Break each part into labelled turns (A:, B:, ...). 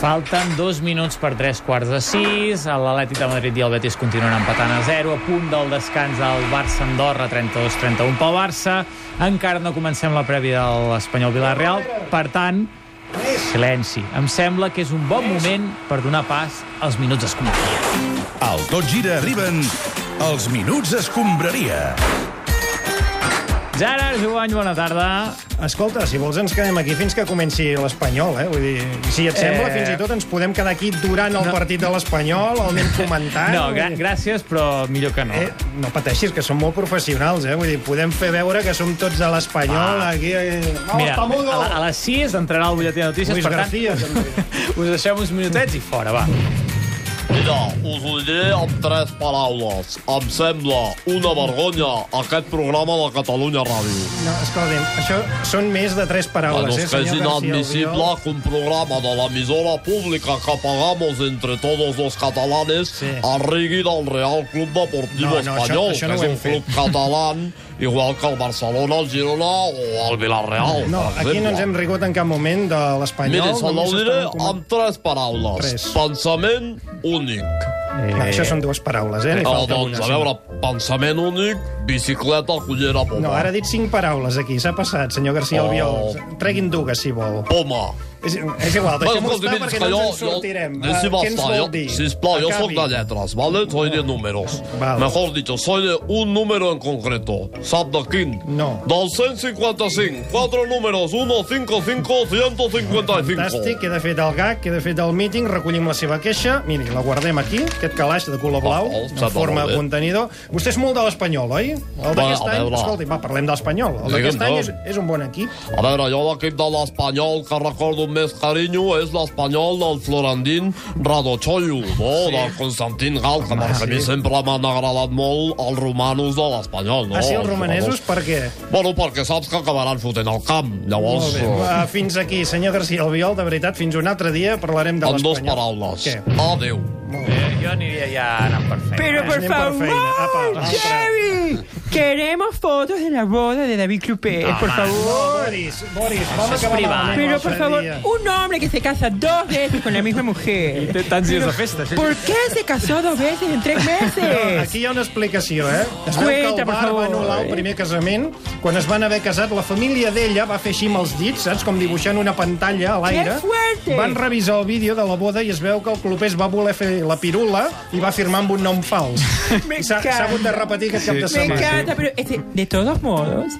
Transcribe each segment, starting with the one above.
A: Falten dos minuts per tres quarts de sis. L'Atlètic de Madrid i el Betis continuen empatant a 0. A punt del descans del Barça Andorra, 32-31 pel Barça. Encara no comencem la prèvia de l'Espanyol Villarreal. Per tant, silenci. Em sembla que és un bon moment per donar pas als minuts d'escombraria.
B: Al Tot Gira arriben els Minuts Escombraria.
A: Gerard Jovany, bona tarda.
C: Escolta, si vols ens quedem aquí fins que comenci l'Espanyol, eh? Vull dir, si et sembla,
A: Eh.
C: fins i tot ens podem quedar aquí durant el
A: No.
C: partit de l'Espanyol, el anem comentant...
A: No,
C: vull
A: gra
C: dir-
A: gràcies, però millor que no.
C: Eh, no pateixis, que som molt professionals, eh? Vull dir, podem fer veure que som tots de l'Espanyol,
A: Va.
C: aquí... Eh?
A: Mira, a, la- a les 6 entrarà el butlletí de notícies,
C: Luis
A: per tant,
C: García, també.
A: us deixem uns minutets i fora, va.
D: Mira, us ho diré amb tres paraules. Em sembla una vergonya aquest programa de Catalunya Ràdio.
C: No, escolta'm, això són més de tres
D: Bueno,
C: paraules,
D: es
C: eh,
D: que es
C: senyor García
D: inadmisible
C: Albiol?
D: que un programa de la emisora pública que pagamos entre todos los catalanes
C: Sí.
D: arrigui del Real Club Deportivo
C: No, no, això-
D: Espanyol,
C: això no ho
D: que és
C: hem
D: un
C: fet.
D: club català igual que el Barcelona, el Girona o el Villarreal.
C: No,
D: per
C: aquí
D: exemple.
C: no ens hem rigut en cap moment de l'Espanyol.
D: Mira, se
C: només
D: l'ho diré
C: estàvem coment-
D: amb tres paraules.
C: Tres.
D: Pensament únic.
C: No, Eh, això són dues paraules, eh? Li
D: Ah,
C: falta
D: doncs,
C: una,
D: a
C: sí.
D: veure, pensament únic, bicicleta, cullera, poma.
C: No, eh? ara ha dit cinc paraules aquí, s'ha passat, senyor García
D: Oh.
C: Albiol. Treguin dues, si vol.
D: Poma.
C: És, és igual, deixem-ho estar perquè no ens en sortirem.
D: Yo,
C: Ah,
D: decimos
C: què ens vol dir? Mm.
D: Sisplau, yo soy
C: Acabi.
D: de letras, ¿vale? Soy de números.
C: Vale.
D: Mejor dicho, soy de un número en concreto. ¿Sab de quin?
C: No.
D: 255. Cuatro números. 1, 5, 5, 155.
C: Fantàstic, queda fet el gag, queda fet el míting, recollim la seva queixa. Miri, la guardem aquí, aquest calaix de color blau,
D: Oh, oh,
C: en
D: sap
C: forma
D: molt
C: de
D: bé.
C: contenidor. Vostè és molt de l'Espanyol, oi? El d'aquest
D: a
C: any,
D: veure.
C: escolti, va, parlem de l'Espanyol. El
D: Digue'm,
C: d'aquest any és,
D: no.
C: és un bon equip.
D: A veure, jo l'equip de l'Espanyol que recordo amb més carinyo és l'Espanyol del Florandín Radochollo, no? Sí. Del Constantin Gal, que Home, a mi
C: Ah, sí.
D: sempre m'han agradat molt els romanos de l'Espanyol, no?
C: Ah, sí, els
D: Els
C: romanesos,
D: oh.
C: per què?
D: Bueno, perquè saps que acabaran fotent el camp. Llavors,
C: Molt bé.
D: eh,
C: Va, fins aquí, senyor García Albiol, de veritat, fins un altre dia parlarem de
D: amb dues
C: l'Espanyol.
D: paraules.
C: Què?
D: Adéu.
A: Eh, jo aniria ja anant per feina.
E: Pero
C: Eh,
E: por
C: anem per
E: favor,
C: feina. Apa, altra.
E: Jerry, queremos fotos de la boda de David Clupé,
A: No,
E: por
A: man.
E: favor.
C: Boris, Boris, vam
A: és
C: acabar
A: privat.
C: malament
E: Pero
C: l'altre
E: por favor,
C: dia.
E: un hombre que se casa dos veces con la misma mujer.
A: Té tants dies de festa. sí, sí.
E: ¿Por qué se casó dos veces en tres
C: No,
E: meses?
C: Eh, aquí hi ha una explicació, eh? Es veu que
E: Cuenta,
C: el
E: per
C: bar va
E: favor.
C: anul·lar el primer casament. Quan es van haver casat, la família d'ella va fer així amb els dits, saps? Com dibuixant una pantalla a l'aire.
E: Que fuerte!
C: Van revisar el vídeo de la boda i es veu que el clopés va voler fer la pirula i va firmar amb un nom fals. I S'ha s'ha hagut de repetir aquest cap de
E: Me
C: setmana.
E: encanta, pero este- de todos modos,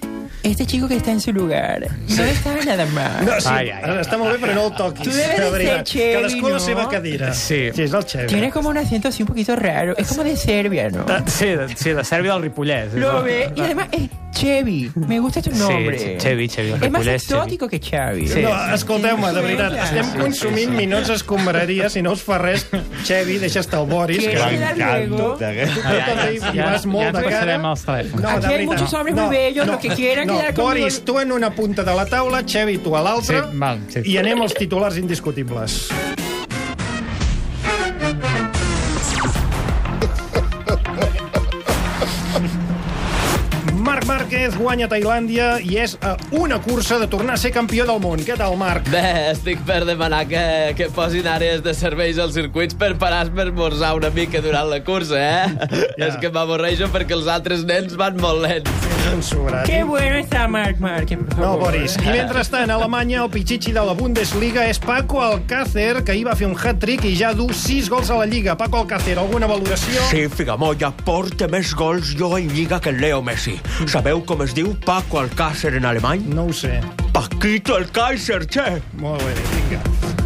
E: este chico que está en su lugar no está nada mal.
C: No, sí,
A: Ai, ai, ai.
C: està molt bé, però no el toquis.
E: Tu debes
C: de
E: de ser
C: veritat.
E: Chevy,
C: Cadascú a la
E: no?
C: seva cadira.
A: Sí.
C: Sí, és el
E: Tiene
C: Xevi.
E: como un acento así un poquito raro. Es como de Serbia, ¿no?
A: De- Sí, de, sí, de Sèrbia del Ripollès. és
E: Lo
A: la-
E: ve. Y además es Chevy. Me gusta tu nombre.
A: sí, Chevy, Chevy,
E: Es más
A: Hércules, Chevy.
E: exótico que Chevy.
A: Sí.
C: No, escolteu-me, de veritat, estem consumint minuts escombraria, si no us fa res, Xevi, deixa estar el Boris, que
E: ¿Quieres
A: eh?
E: quedar luego?
C: Tu també hi hi vas molt
A: ja ens
C: de cara.
A: passarem els telèfons.
C: de
E: Aquí hay
C: veritat.
E: muchos hombres muy bellos, los que quieran
C: no,
E: quedar conmigo.
C: Boris, tu en una punta de la taula, Xevi, tu a l'altra,
A: Sí, val, sí.
C: i anem als titulars indiscutibles. Marc Márquez guanya a Tailàndia i és a una cursa de tornar a ser campió del món. Què tal, Marc?
F: Bé, estic per demanar que, que posin àrees de serveis als circuits per parar per esmorzar una mica durant la cursa, eh?
C: Ja.
F: Yeah. És que m'avorreixo perquè els altres nens van molt lents.
C: Un sobrat.
E: Qué bueno está Mark Márquez. por
C: No,
E: favor.
C: Boris. I mentrestant, a Alemanya, el pitxitxi de la Bundesliga és Paco Alcácer, que ahir va fer un hat-trick i ja du 6 gols a la Lliga. Paco Alcácer, alguna valoració?
G: Sí, Figamolla, porta més gols jo en Lliga que en Leo Messi. Sabeu com es diu Paco Alcácer en alemany?
C: No ho sé.
G: Paquito Alcácer, che!
C: Molt bé, vinga.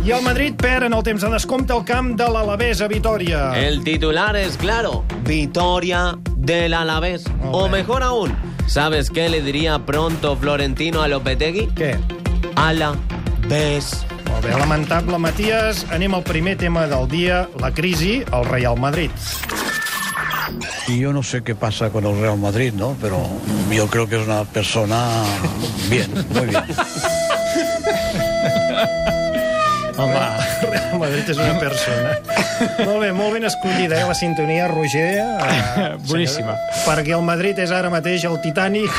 C: I el Madrid perd en el temps de descompte el camp de l'Alavés a Vitoria.
H: Eh.
F: El titular és claro, Vitoria del Alavés.
C: Molt
F: O
C: bé.
F: mejor aún, ¿sabes qué le diría pronto Florentino a Lopetegui?
C: Què?
F: Ala, ves.
C: Molt bé, lamentable, Matías. Anem al primer tema del dia, la crisi al Real Madrid.
I: Y yo no sé qué pasa con el Real Madrid, ¿no? Pero yo creo que es una persona bien, muy bien.
A: Home,
C: Real Madrid és una persona. molt bé, molt ben escollida, eh, la sintonia, Roger. Eh,
E: Boníssima.
C: senyor, Perquè el Madrid és ara mateix el Titanic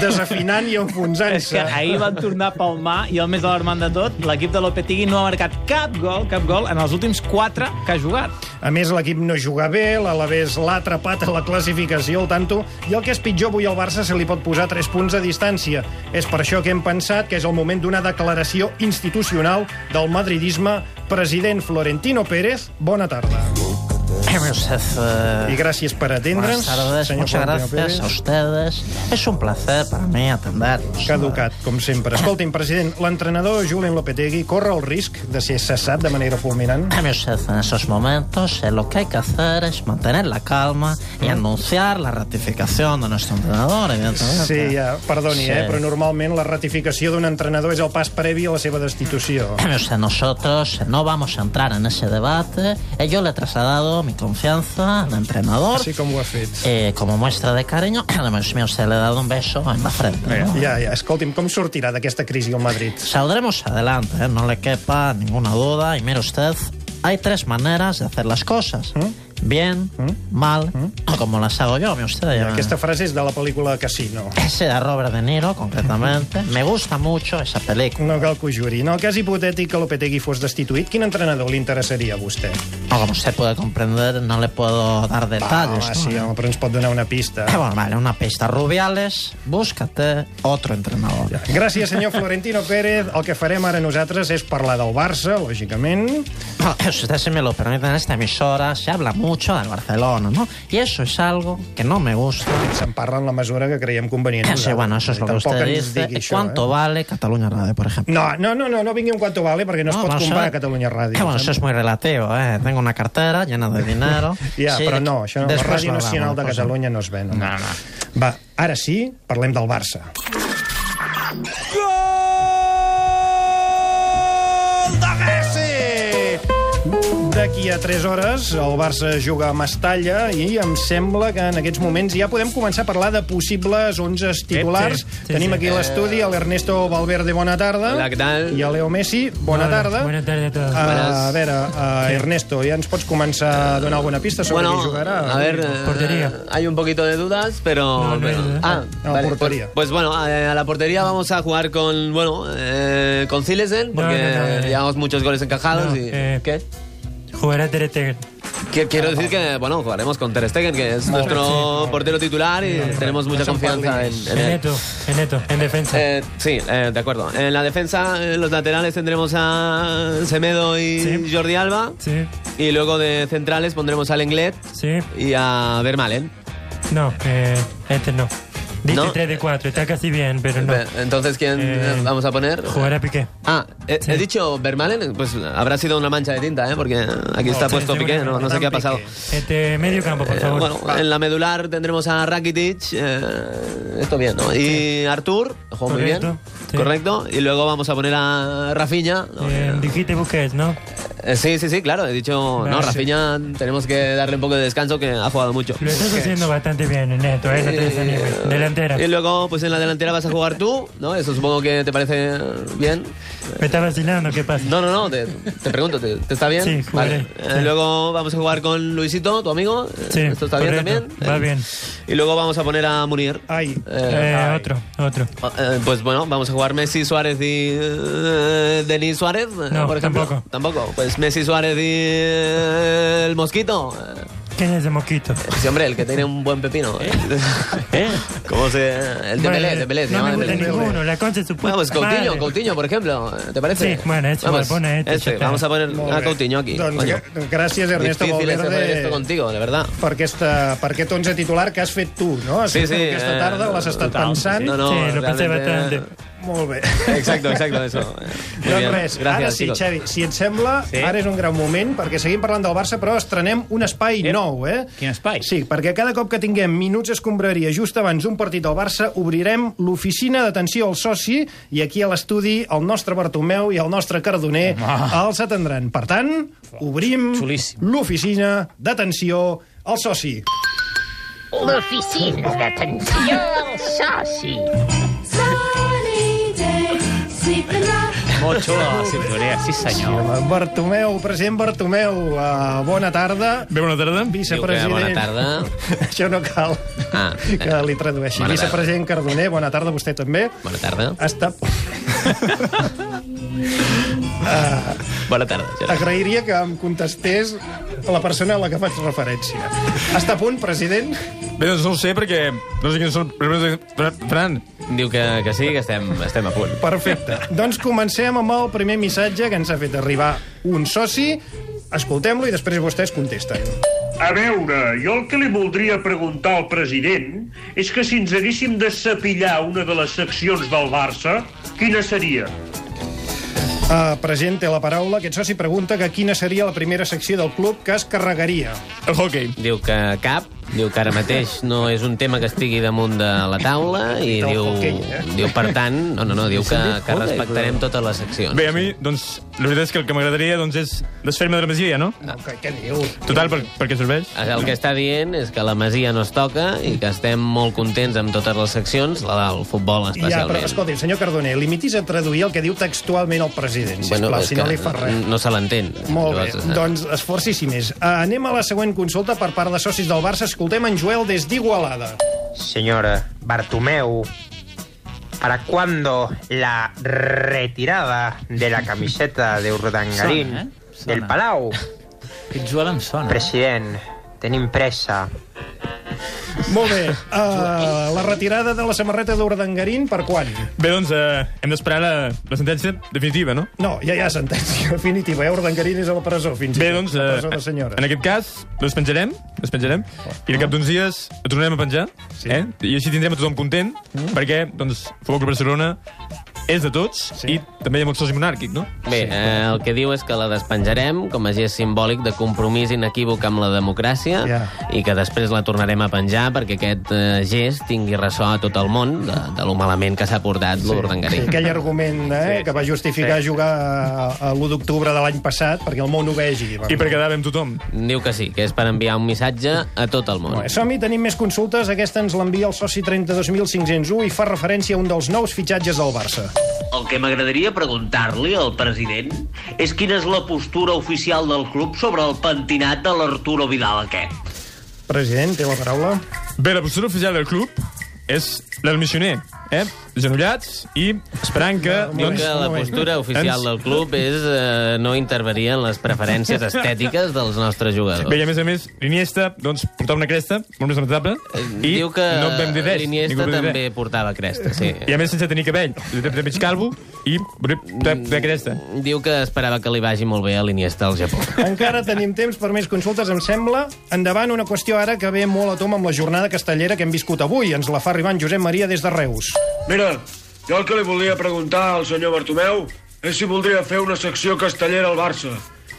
C: desafinant
A: És
C: i
A: que
C: enfonsant-se.
A: ahir van tornar a palmar i el més alarmant de tot, l'equip de Lopetegui no ha marcat cap gol, cap gol en els últims 4 que ha jugat.
C: A més, l'equip no juga bé, l'Alavés l'ha atrapat a la classificació al tanto, i el que és pitjor, avui al Barça se li pot posar 3 punts de distància. És per això que hem pensat que és el moment d'una declaració institucional del madridisme. President Florentino Pérez, bona tarda.
J: Josef, eh,
C: I gràcies per atendre'ns,
J: buenas tardes,
C: senyor
J: muchas
C: Florentino
J: gracias
C: Pérez.
J: a ustedes. Es un placer para mí atenderlos.
C: Caducat, com sempre. Escolti'm, president, l'entrenador Julen Lopetegui corre el risc de ser cessat de manera fulminant?
J: Eh, Josef, en esos momentos eh, lo que hay que hacer es mantener la calma y anunciar la ratificación de nuestro entrenador, evidentemente.
C: Sí, ja, perdoni,
J: Sí.
C: eh, però normalment la ratificació d'un entrenador és el pas previ a la seva destitució.
J: Eh, Josef, nosotros eh, no vamos a entrar en ese debate. Eh, Yo le he trasladado mi confianza al entrenador.
C: Així com ho ha fet.
J: Eh, como muestra de cariño, además mío, se le ha dado un beso en la frente. ¿no?
C: Ja, ja, escolti'm, com sortirà d'aquesta crisi el Madrid?
J: Saldremos adelante, ¿eh? no le quepa ninguna duda. Y mire usted, hay tres maneras de hacer las cosas. Bien, mal, o como las hago yo, mire usted. ya me-
C: Aquesta frase és de la pel·lícula Casino.
J: Ese de Robert De Niro, concretamente. Me gusta mucho esa película.
C: No cal que ho juri. En el cas hipotètic que Lopetegui fos destituït, quin entrenador li interessaria a vostè?
J: No, como usted puede comprender, no le puedo dar detalles.
C: Home,
J: ¿no?
C: sí, home, però ens pot donar una pista.
J: Eh, bueno, vale, una pista. Rubiales, búscate otro entrenador.
C: Gràcies, senyor Florentino Pérez. El que farem ara nosaltres és parlar del Barça, lògicament.
J: No, si ustedes si me lo permiten, en esta emisora se habla mucho del Barcelona, ¿no? Y eso es algo que no me gusta.
C: Se'n parla en la mesura que creiem convenient.
J: Sí, bueno, eso es lo que Eh,
C: Tampoc
J: usted
C: ens
J: dice.
C: digui això, eh?
J: ¿Cuánto vale Cataluña Radio, por ejemplo?
C: No, no, no, no, no vingui un cuanto vale, perquè no, es pot
J: vamos
C: comprar
J: ver.
C: a Catalunya Ràdio.
J: Eh, bueno, eso es muy relativo, ¿eh? Tengo una cartera llena de dinero.
C: Ja,
J: Sí,
C: però no, això no, la
J: después
C: Ràdio
J: lo
C: Nacional
J: hablamos,
C: de
J: pues,
C: Catalunya no es ven. No, no. Va, ara sí, parlem del Barça. Gol de Messi! D'aquí a 3 hores el Barça juga a Mestalla i em sembla que en aquests moments ja podem començar a parlar de possibles 11 titulars.
E: sí, sí,
C: Tenim
E: sí.
C: aquí a l'estudi a l'Ernesto Valverde, bona tarda.
F: Hola, què tal?
C: I a Leo Messi, bona tarda.
E: Buenas tardes a todos.
C: Ah,
F: Buenas.
C: a veure, uh, Ernesto, ja ens pots començar a donar alguna pista sobre
F: Bueno,
C: qui jugarà?
F: a ver, eh,
E: Portería.
F: hay un poquito de dudas, pero...
E: No, no hay
F: pero-
E: dudas.
F: ah,
C: No,
F: vale,
C: portería.
F: Pues, pues bueno, a, a la portería vamos a jugar con, bueno, eh, con Zilesen, porque
E: no, no, no.
F: llevamos muchos goles encajados
E: No,
F: y...
E: eh,
F: ¿Qué?
E: Jugará Ter Stegen.
F: Que- Quiero decir que, bueno, jugaremos con Ter Stegen, que es nuestro portero titular y tenemos mucha confianza en, en él.
E: Eneto, Eneto, en defensa.
F: Eh, sí, eh, de acuerdo. En la defensa, en los laterales tendremos a Semedo y
E: Sí.
F: Jordi Alba.
E: Sí,
F: Y luego de centrales pondremos a Lenglet
E: sí.
F: y a Vermalen.
E: No, eh, este no. Dice
F: No.
E: 3 de 4, está casi bien, pero no.
F: Ve- Entonces, ¿quién
E: Eh,
F: eh, vamos a poner?
E: Jugará Piqué.
F: Ah, he, he dicho Vermalen, pues habrá sido una mancha de tinta, ¿eh? Porque aquí está
E: sí,
F: puesto
E: sí,
F: Piqué,
E: bueno,
F: no, no sé qué ha
C: Piqué.
F: pasado.
E: Este medio campo, por
F: Eh,
E: favor.
F: bueno, en la medular tendremos a Rakitic, eh, esto bien, ¿no? Y Artur, jugó muy bien,
E: Correcto, sí.
F: correcto. Y luego vamos a poner a Rafinha. ¿no?
E: Eh, dijiste Busquets, ¿no?
F: Eh, sí, sí, sí, claro, he dicho,
E: Vale,
F: no,
E: sí.
F: Rafinha tenemos que darle un poco de descanso que ha jugado mucho.
E: Lo estás haciendo bastante bien, Eneto, eh, no te desanimes. Delantera.
F: Y luego, pues en la delantera vas a jugar tú, ¿no? Eso supongo que te parece bien.
E: Me está vacilando, ¿qué pasa?
F: No, no, no, te, te pregunto, ¿te, te está bien?
E: Sí, jugaré,
F: Eh,
E: sí.
F: Luego vamos a jugar con Luisito, tu amigo. Eh,
E: Sí,
F: ¿Esto está bien
E: correcto,
F: también?
E: va
F: Eh,
E: bien.
F: Y luego vamos a poner a Munir.
C: Ai,
F: Eh,
E: Eh,
C: Ay.
E: otro, otro.
F: o- eh, pues bueno, vamos a jugar Messi, Suárez y eh, Denis Suárez, eh,
E: No,
F: por ejemplo.
E: tampoco.
F: Tampoco. Pues Messi, Suárez y eh, el Mosquito. Eh,
E: ¿Quién es ese mosquito?
F: Sí, hombre, el que tiene un buen pepino. ¿Eh? ¿Cómo se...? El de Pelé,
E: Bueno,
F: de Pelé. se
E: no
F: llama
E: me
F: de
E: gusta
F: Pelé.
E: ninguno, la concha es su puta
F: Bueno, pues Coutinho,
E: madre.
F: Coutinho, por ejemplo, ¿te parece?
E: Sí, bueno, este
F: Vamos,
E: igual, pone este, ya
F: este,
E: está.
F: vamos a poner
C: molt
F: a
C: bé.
F: Coutinho aquí.
C: Doncs,
F: coño.
C: gr- gràcies, Ernesto
F: Difícil es hacer esto
C: Valverde,
F: contigo, de verdad.
C: per, aquesta, per aquest 11 titular que has fet tu, no? Has fet
F: eh,
C: aquesta tarda l'has estat
F: total,
C: pensant.
F: sí, No, no,
E: sí, lo pensé
F: realmente,
E: bastante.
C: Molt bé.
F: eh, Exacto, exacto, eso. Eh, muy
C: Doncs
F: bien.
C: res,
F: Gracias,
C: ara sí,
F: chicos.
C: Xavi, si et sembla, sí. ara és un gran moment, perquè seguim parlant del Barça, però estrenem un espai
A: Ep.
C: nou, eh?
A: Quin espai?
C: Sí, perquè cada cop que tinguem minuts escombraria just abans d'un partit del Barça, obrirem l'oficina d'atenció al soci, i aquí a l'estudi el nostre Bartomeu i el nostre Cardoner els atendran. Per tant, obrim
A: Xulíssim.
C: l'oficina d'atenció al soci.
K: L'oficina d'atenció al soci.
L: Sunny day, sleeping rock.
E: Mocho a la cinturia, sí senyor.
C: Bartomeu, president Bartomeu, uh, bona tarda.
K: Bé, bona tarda.
C: Vicepresident...
H: Diu que bona tarda.
C: Això no cal
H: Ah,
C: que li tradueixi.
H: Bona tarda.
C: Vicepresident Cardoner, bona tarda a vostè també.
H: Bona tarda.
C: Està...
H: Bona tarda, Gerard.
C: Agrairia que em contestés la persona a la que faig referència. Està a punt, president?
K: Bé, doncs no ho sé, perquè no sé quins són... primers de- Fran,
H: Diu que, que sí, que estem, estem a punt.
C: Perfecte. doncs comencem amb el primer missatge que ens ha fet arribar un soci. Escoltem-lo i després vostès contesten.
L: A veure, jo el que li voldria preguntar al president és que si ens haguéssim de sapillar una de les seccions del Barça, quina seria?
C: Uh, president, té la paraula. Aquest soci pregunta que quina seria la primera secció del club que es carregaria.
K: el hockey.
H: Diu que cap, diu que ara mateix no és un tema que estigui damunt de la taula i
C: Del
H: diu,
C: hoquei, eh?
H: diu per tant, no, no, no, diu que, que respectarem totes les
K: Bé,
H: seccions.
K: a mi, doncs, la veritat és que el que m'agradaria doncs, és desfer-me de la masia, no?
C: No, què, què diu?
K: Total, per, per què serveix?
H: El que està dient és que la Masia no es toca i que estem molt contents amb totes les seccions, la del futbol
C: Ja, però,
H: especialment.
C: escolti, senyor Cardoner, limitis a traduir el que diu textualment el president, sisplau, bueno,
H: és
C: si no
H: que
C: li fa res.
H: No, no se l'entén.
C: Molt bé,
H: Llavors, eh,
C: doncs esforci-s'hi més. Uh, anem a la següent consulta per part de socis del Barça. Escoltem en Joel des d'Igualada.
M: Señora Bartumeu, ¿para cuándo la
H: eh.
M: retirada de la camiseta de Urdangarín
E: Sona, eh? Sona.
M: del Palau?
E: Aquest Joel em sona. eh?
M: President, tenim pressa.
C: Molt bé, uh, la retirada de la samarreta d'Urdangarín per quan?
K: Bé, doncs, eh, hem d'esperar la, la sentència definitiva, no?
C: No, ja hi ha sentència definitiva, eh? Urdangarín és a la presó fins i
K: Bé,
C: tot,
K: doncs,
C: a la
K: eh,
C: presó de senyora.
K: en aquest cas, doncs penjarem, doncs penjarem, i al cap d'uns dies el tornarem a penjar,
C: Sí.
K: eh? i així tindrem a tothom content, perquè, doncs, Futbol Club Barcelona és de tots,
C: Sí.
K: i també hi ha molt soci monàrquic, no?
H: Bé, eh, el que diu és que la despenjarem com a gest simbòlic de compromís inequívoc amb la democràcia
C: Ja.
H: i que després la tornarem a penjar perquè aquest eh, gest tingui ressò a tot el món de, de lo malament que s'ha portat sí.
C: Sí,
H: l'Urdangarín.
C: aquell argument eh,
H: Sí,
C: que va justificar
H: sí.
C: jugar a, a l'1 d'octubre de l'any passat perquè el món ho vegi.
K: I per quedar bé amb tothom.
H: Diu que sí, que és per enviar un missatge a tot el món.
C: Bé, Som-hi, tenim més consultes. Aquesta ens l'envia el soci 32.501 i fa referència a un dels nous fitxatges del Barça.
N: El que m'agradaria preguntar-li al president és quina és la postura oficial del club sobre el pentinat de l'Arturo Vidal aquest.
C: President, té la paraula.
K: Bé, la postura oficial del club és la del missioner, eh? Genollats i esperant que...
H: Diu
K: doncs,
H: que la postura oficial del club és eh, no intervenir en les preferències estètiques dels nostres jugadors.
K: Bé, i a més a més, l'Iniesta, doncs, portava una cresta, molt més lamentable,
E: Eh,
K: i
H: Diu que
K: no en vam dir res. ningú
H: l'Iniesta
K: en va dir res.
H: també portava cresta, sí.
K: I a més sense tenir cabell, de, de, de mig calvo i de, de, de cresta.
H: Diu que esperava que li vagi molt bé a l'Iniesta al Japó.
C: Encara tenim temps per més consultes, em sembla. Endavant, una qüestió ara que ve molt a tom amb la jornada castellera que hem viscut avui. Ens la fa arribar en Josep Maria des de Reus.
D: Mira, jo el que li volia preguntar al senyor Bartomeu és si voldria fer una secció castellera al Barça,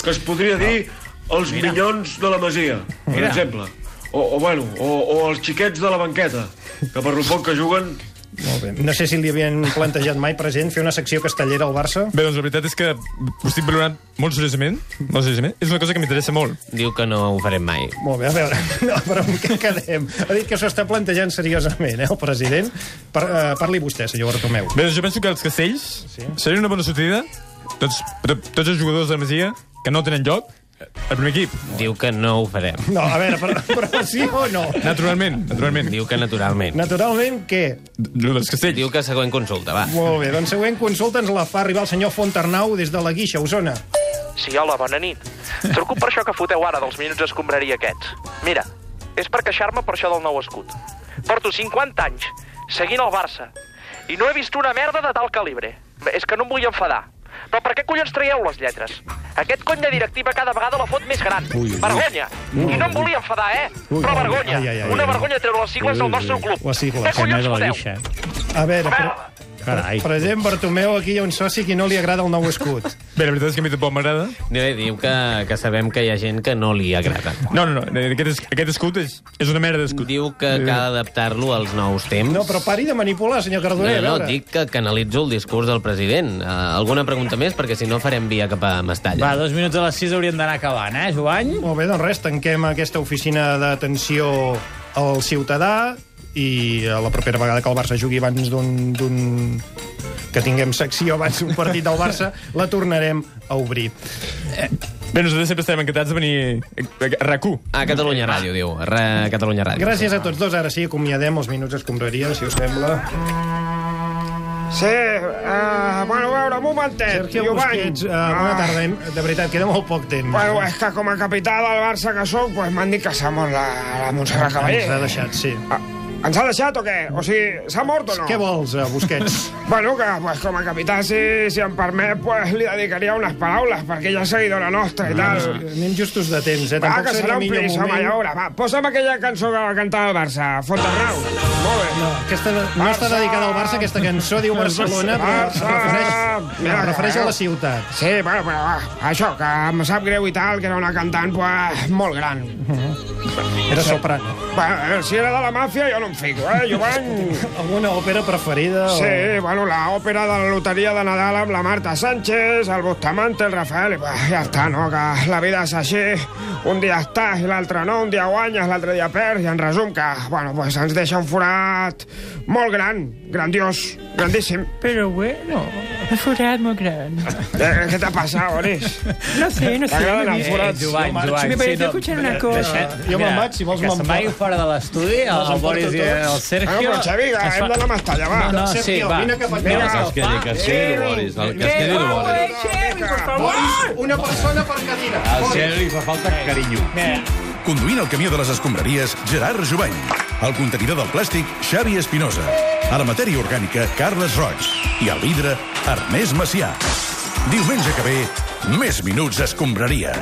D: que es podria dir els Mira. minyons de la Masia, per
B: Mira.
D: exemple. O, o, bueno, o, o els xiquets de la banqueta, que per lo poc que juguen...
C: Molt bé. No sé si li havien plantejat mai, president, fer una secció castellera al Barça.
K: Bé, doncs la veritat és que ho estic valorant molt seriosament, molt seriosament. És una cosa que m'interessa molt.
H: Diu que no ho farem mai.
C: Molt bé, a veure, no, però amb què quedem? Ha dit que s'ho està plantejant seriosament, eh, el president. Per, eh, parli vostè, senyor Bartomeu.
K: Bé, doncs jo penso que els castells sí. seria una bona sortida tots, to- tots els jugadors de la Masia que no tenen lloc al primer equip.
H: Diu que no ho farem.
C: No, a veure, però, però sí o no?
K: Naturalment, naturalment.
H: Diu que naturalment.
C: Naturalment, què?
K: Lo dels castells.
H: Diu que següent consulta, va.
C: Molt bé, doncs següent consulta ens la fa arribar el senyor Fontarnau des de la Guixa, Osona.
O: Sí, hola, bona nit. Truco per això que foteu ara dels minuts escombraria aquests. Mira, és per queixar-me per això del nou escut. Porto 50 anys seguint el Barça i no he vist una merda de tal calibre. Bé, És que no em vull enfadar. Però per què collons traieu les lletres? Aquest cony de directiva cada vegada la fot més gran. Ui, ui. Vergonya!
C: Ui.
O: I no em volia enfadar, eh?
C: Ui,
O: Però
C: ui,
O: vergonya!
C: ai, ai, ai,
O: una
C: ai.
O: vergonya treure les sigles del nostre club.
C: Les sigles.
O: Què collons foteu?
C: A veure, però... eh? Carai. President Bartomeu, aquí hi ha un soci que no li agrada el nou escut.
K: Bé, la veritat és que a mi tampoc m'agrada.
H: Bé, diu que, que sabem que hi ha gent que no li agrada.
K: No, no, no, aquest, es- aquest escut és, és una merda d'escut. Eh.
H: Diu que cal adaptar-lo als nous temps.
C: No, però pari de manipular, senyor
H: no,
C: Cardoner. a
H: no,
C: veure.
H: dic que canalitzo el discurs del president. Uh, alguna pregunta més? Perquè si no farem via cap a Mestalla.
E: Va, dos minuts a les sis hauríem d'anar acabant, eh, Joan?
C: Molt bé, doncs res, tanquem aquesta oficina d'atenció al ciutadà i eh, la propera vegada que el Barça jugui abans d'un d'un que tinguem secció abans d'un partit del Barça, la tornarem a obrir.
K: Bé, nosaltres sempre estem encantats de venir a a RAC1.
F: A Catalunya Ràdio, diu. Re, Catalunya Ràdio.
C: Gràcies a tots dos. Ara sí, acomiadem els minuts escombraria, si us sembla.
P: Sí, uh, bueno, a veure, un momentet,
C: Sergio
P: Giovanni.
C: Busquets, uh, bona
P: Ah.
C: tarda. Hem, de veritat, queda molt poc temps.
P: Bueno, eh, és que com a capità del Barça que sóc, pues m'han dit que s'ha mort la, la Montserrat Cavaller.
C: Ens ha deixat, sí.
P: Ah, ens ha deixat o què? O sigui, s'ha mort o no?
C: Què vols, eh, Busquets?
P: Bueno, que pues, com a capità, si, si em permet, pues, li dedicaria unes paraules, perquè ella és seguidora nostra i tal.
C: Anem justos de temps, eh?
P: Va,
C: Tampoc
P: que
C: seria
P: serà
C: el
P: un
C: millor
P: pis, home,
C: moment.
P: ja veurà. Va, posa'm aquella cançó que va cantar el Barça, Fontarnau. Molt bé.
C: No, aquesta no Barça. està dedicada al Barça, aquesta cançó diu Barcelona, però es refereix, es refereix a
P: eh.
C: la ciutat.
P: Sí, bueno, però va, això, que em sap greu i tal, que era una cantant pues, molt gran.
C: Era soprano.
P: Bueno, si era de la màfia jo no em fico, eh, Joan?
C: Alguna òpera preferida?
A: Oh.
C: o-
P: Sí, bueno, la òpera de la loteria de Nadal amb la Marta Sánchez, el Bustamante, el Rafael... I, pues, ja està, no?, que la vida és així. Un dia estàs i l'altre no, un dia guanyes, l'altre dia perds, i en resum que, bueno, pues ens deixa un forat molt gran, grandiós, grandíssim.
E: Pero bueno, un forat molt gran.
P: Eh, què t'ha passat, Boris?
E: No sé, no sé.
P: T'agraden
E: me-
P: els forats?
A: Joan,
E: me-
A: Joan,
E: Me
A: Eh, sí,
E: pareció
A: no,
E: escuchar una
A: de-
E: cosa.
A: deixa- mira, que se'n vagin fora de l'estudi, el
E: Me'ls emporto
A: Boris i el
E: tots.
A: Sergio.
E: Ah, però,
P: Xavi,
A: que es
P: hem
A: fa-
P: d'anar més talla, va.
A: No, no, Ah, sí,
P: Sergio,
A: va.
P: vine cap aquí.
A: Vinga,
P: Vinga,
A: va.
P: que es quedi,
A: Va.
P: que es quedi el
F: Boris, el que
E: eh,
A: Vinga.
F: es quedi el Boris.
C: Boris, una persona per cadira.
F: El
C: Boris.
F: Sergi fa falta
B: carinyo. Conduint el camió de les escombraries, Gerard Jubany. El contenidor del plàstic, Xavi Espinosa. A la matèria orgànica, Carles Roig. I al vidre, Ernest Macià. Diumenge que ve, més minuts escombraria.